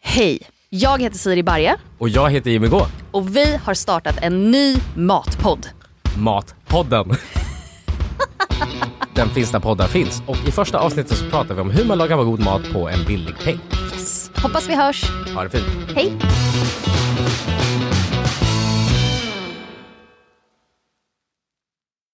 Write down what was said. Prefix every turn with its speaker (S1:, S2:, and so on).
S1: Hej, jag heter Siri Barje
S2: Och jag heter Jimmy Gå.
S1: och vi har startat en ny matpodd.
S2: Matpodden. Den finns där poddar finns. Och i första avsnittet så pratar vi om hur man lagar god mat på en billig peng.
S1: Hoppas vi hörs.
S2: Ha det fint.
S1: Hej!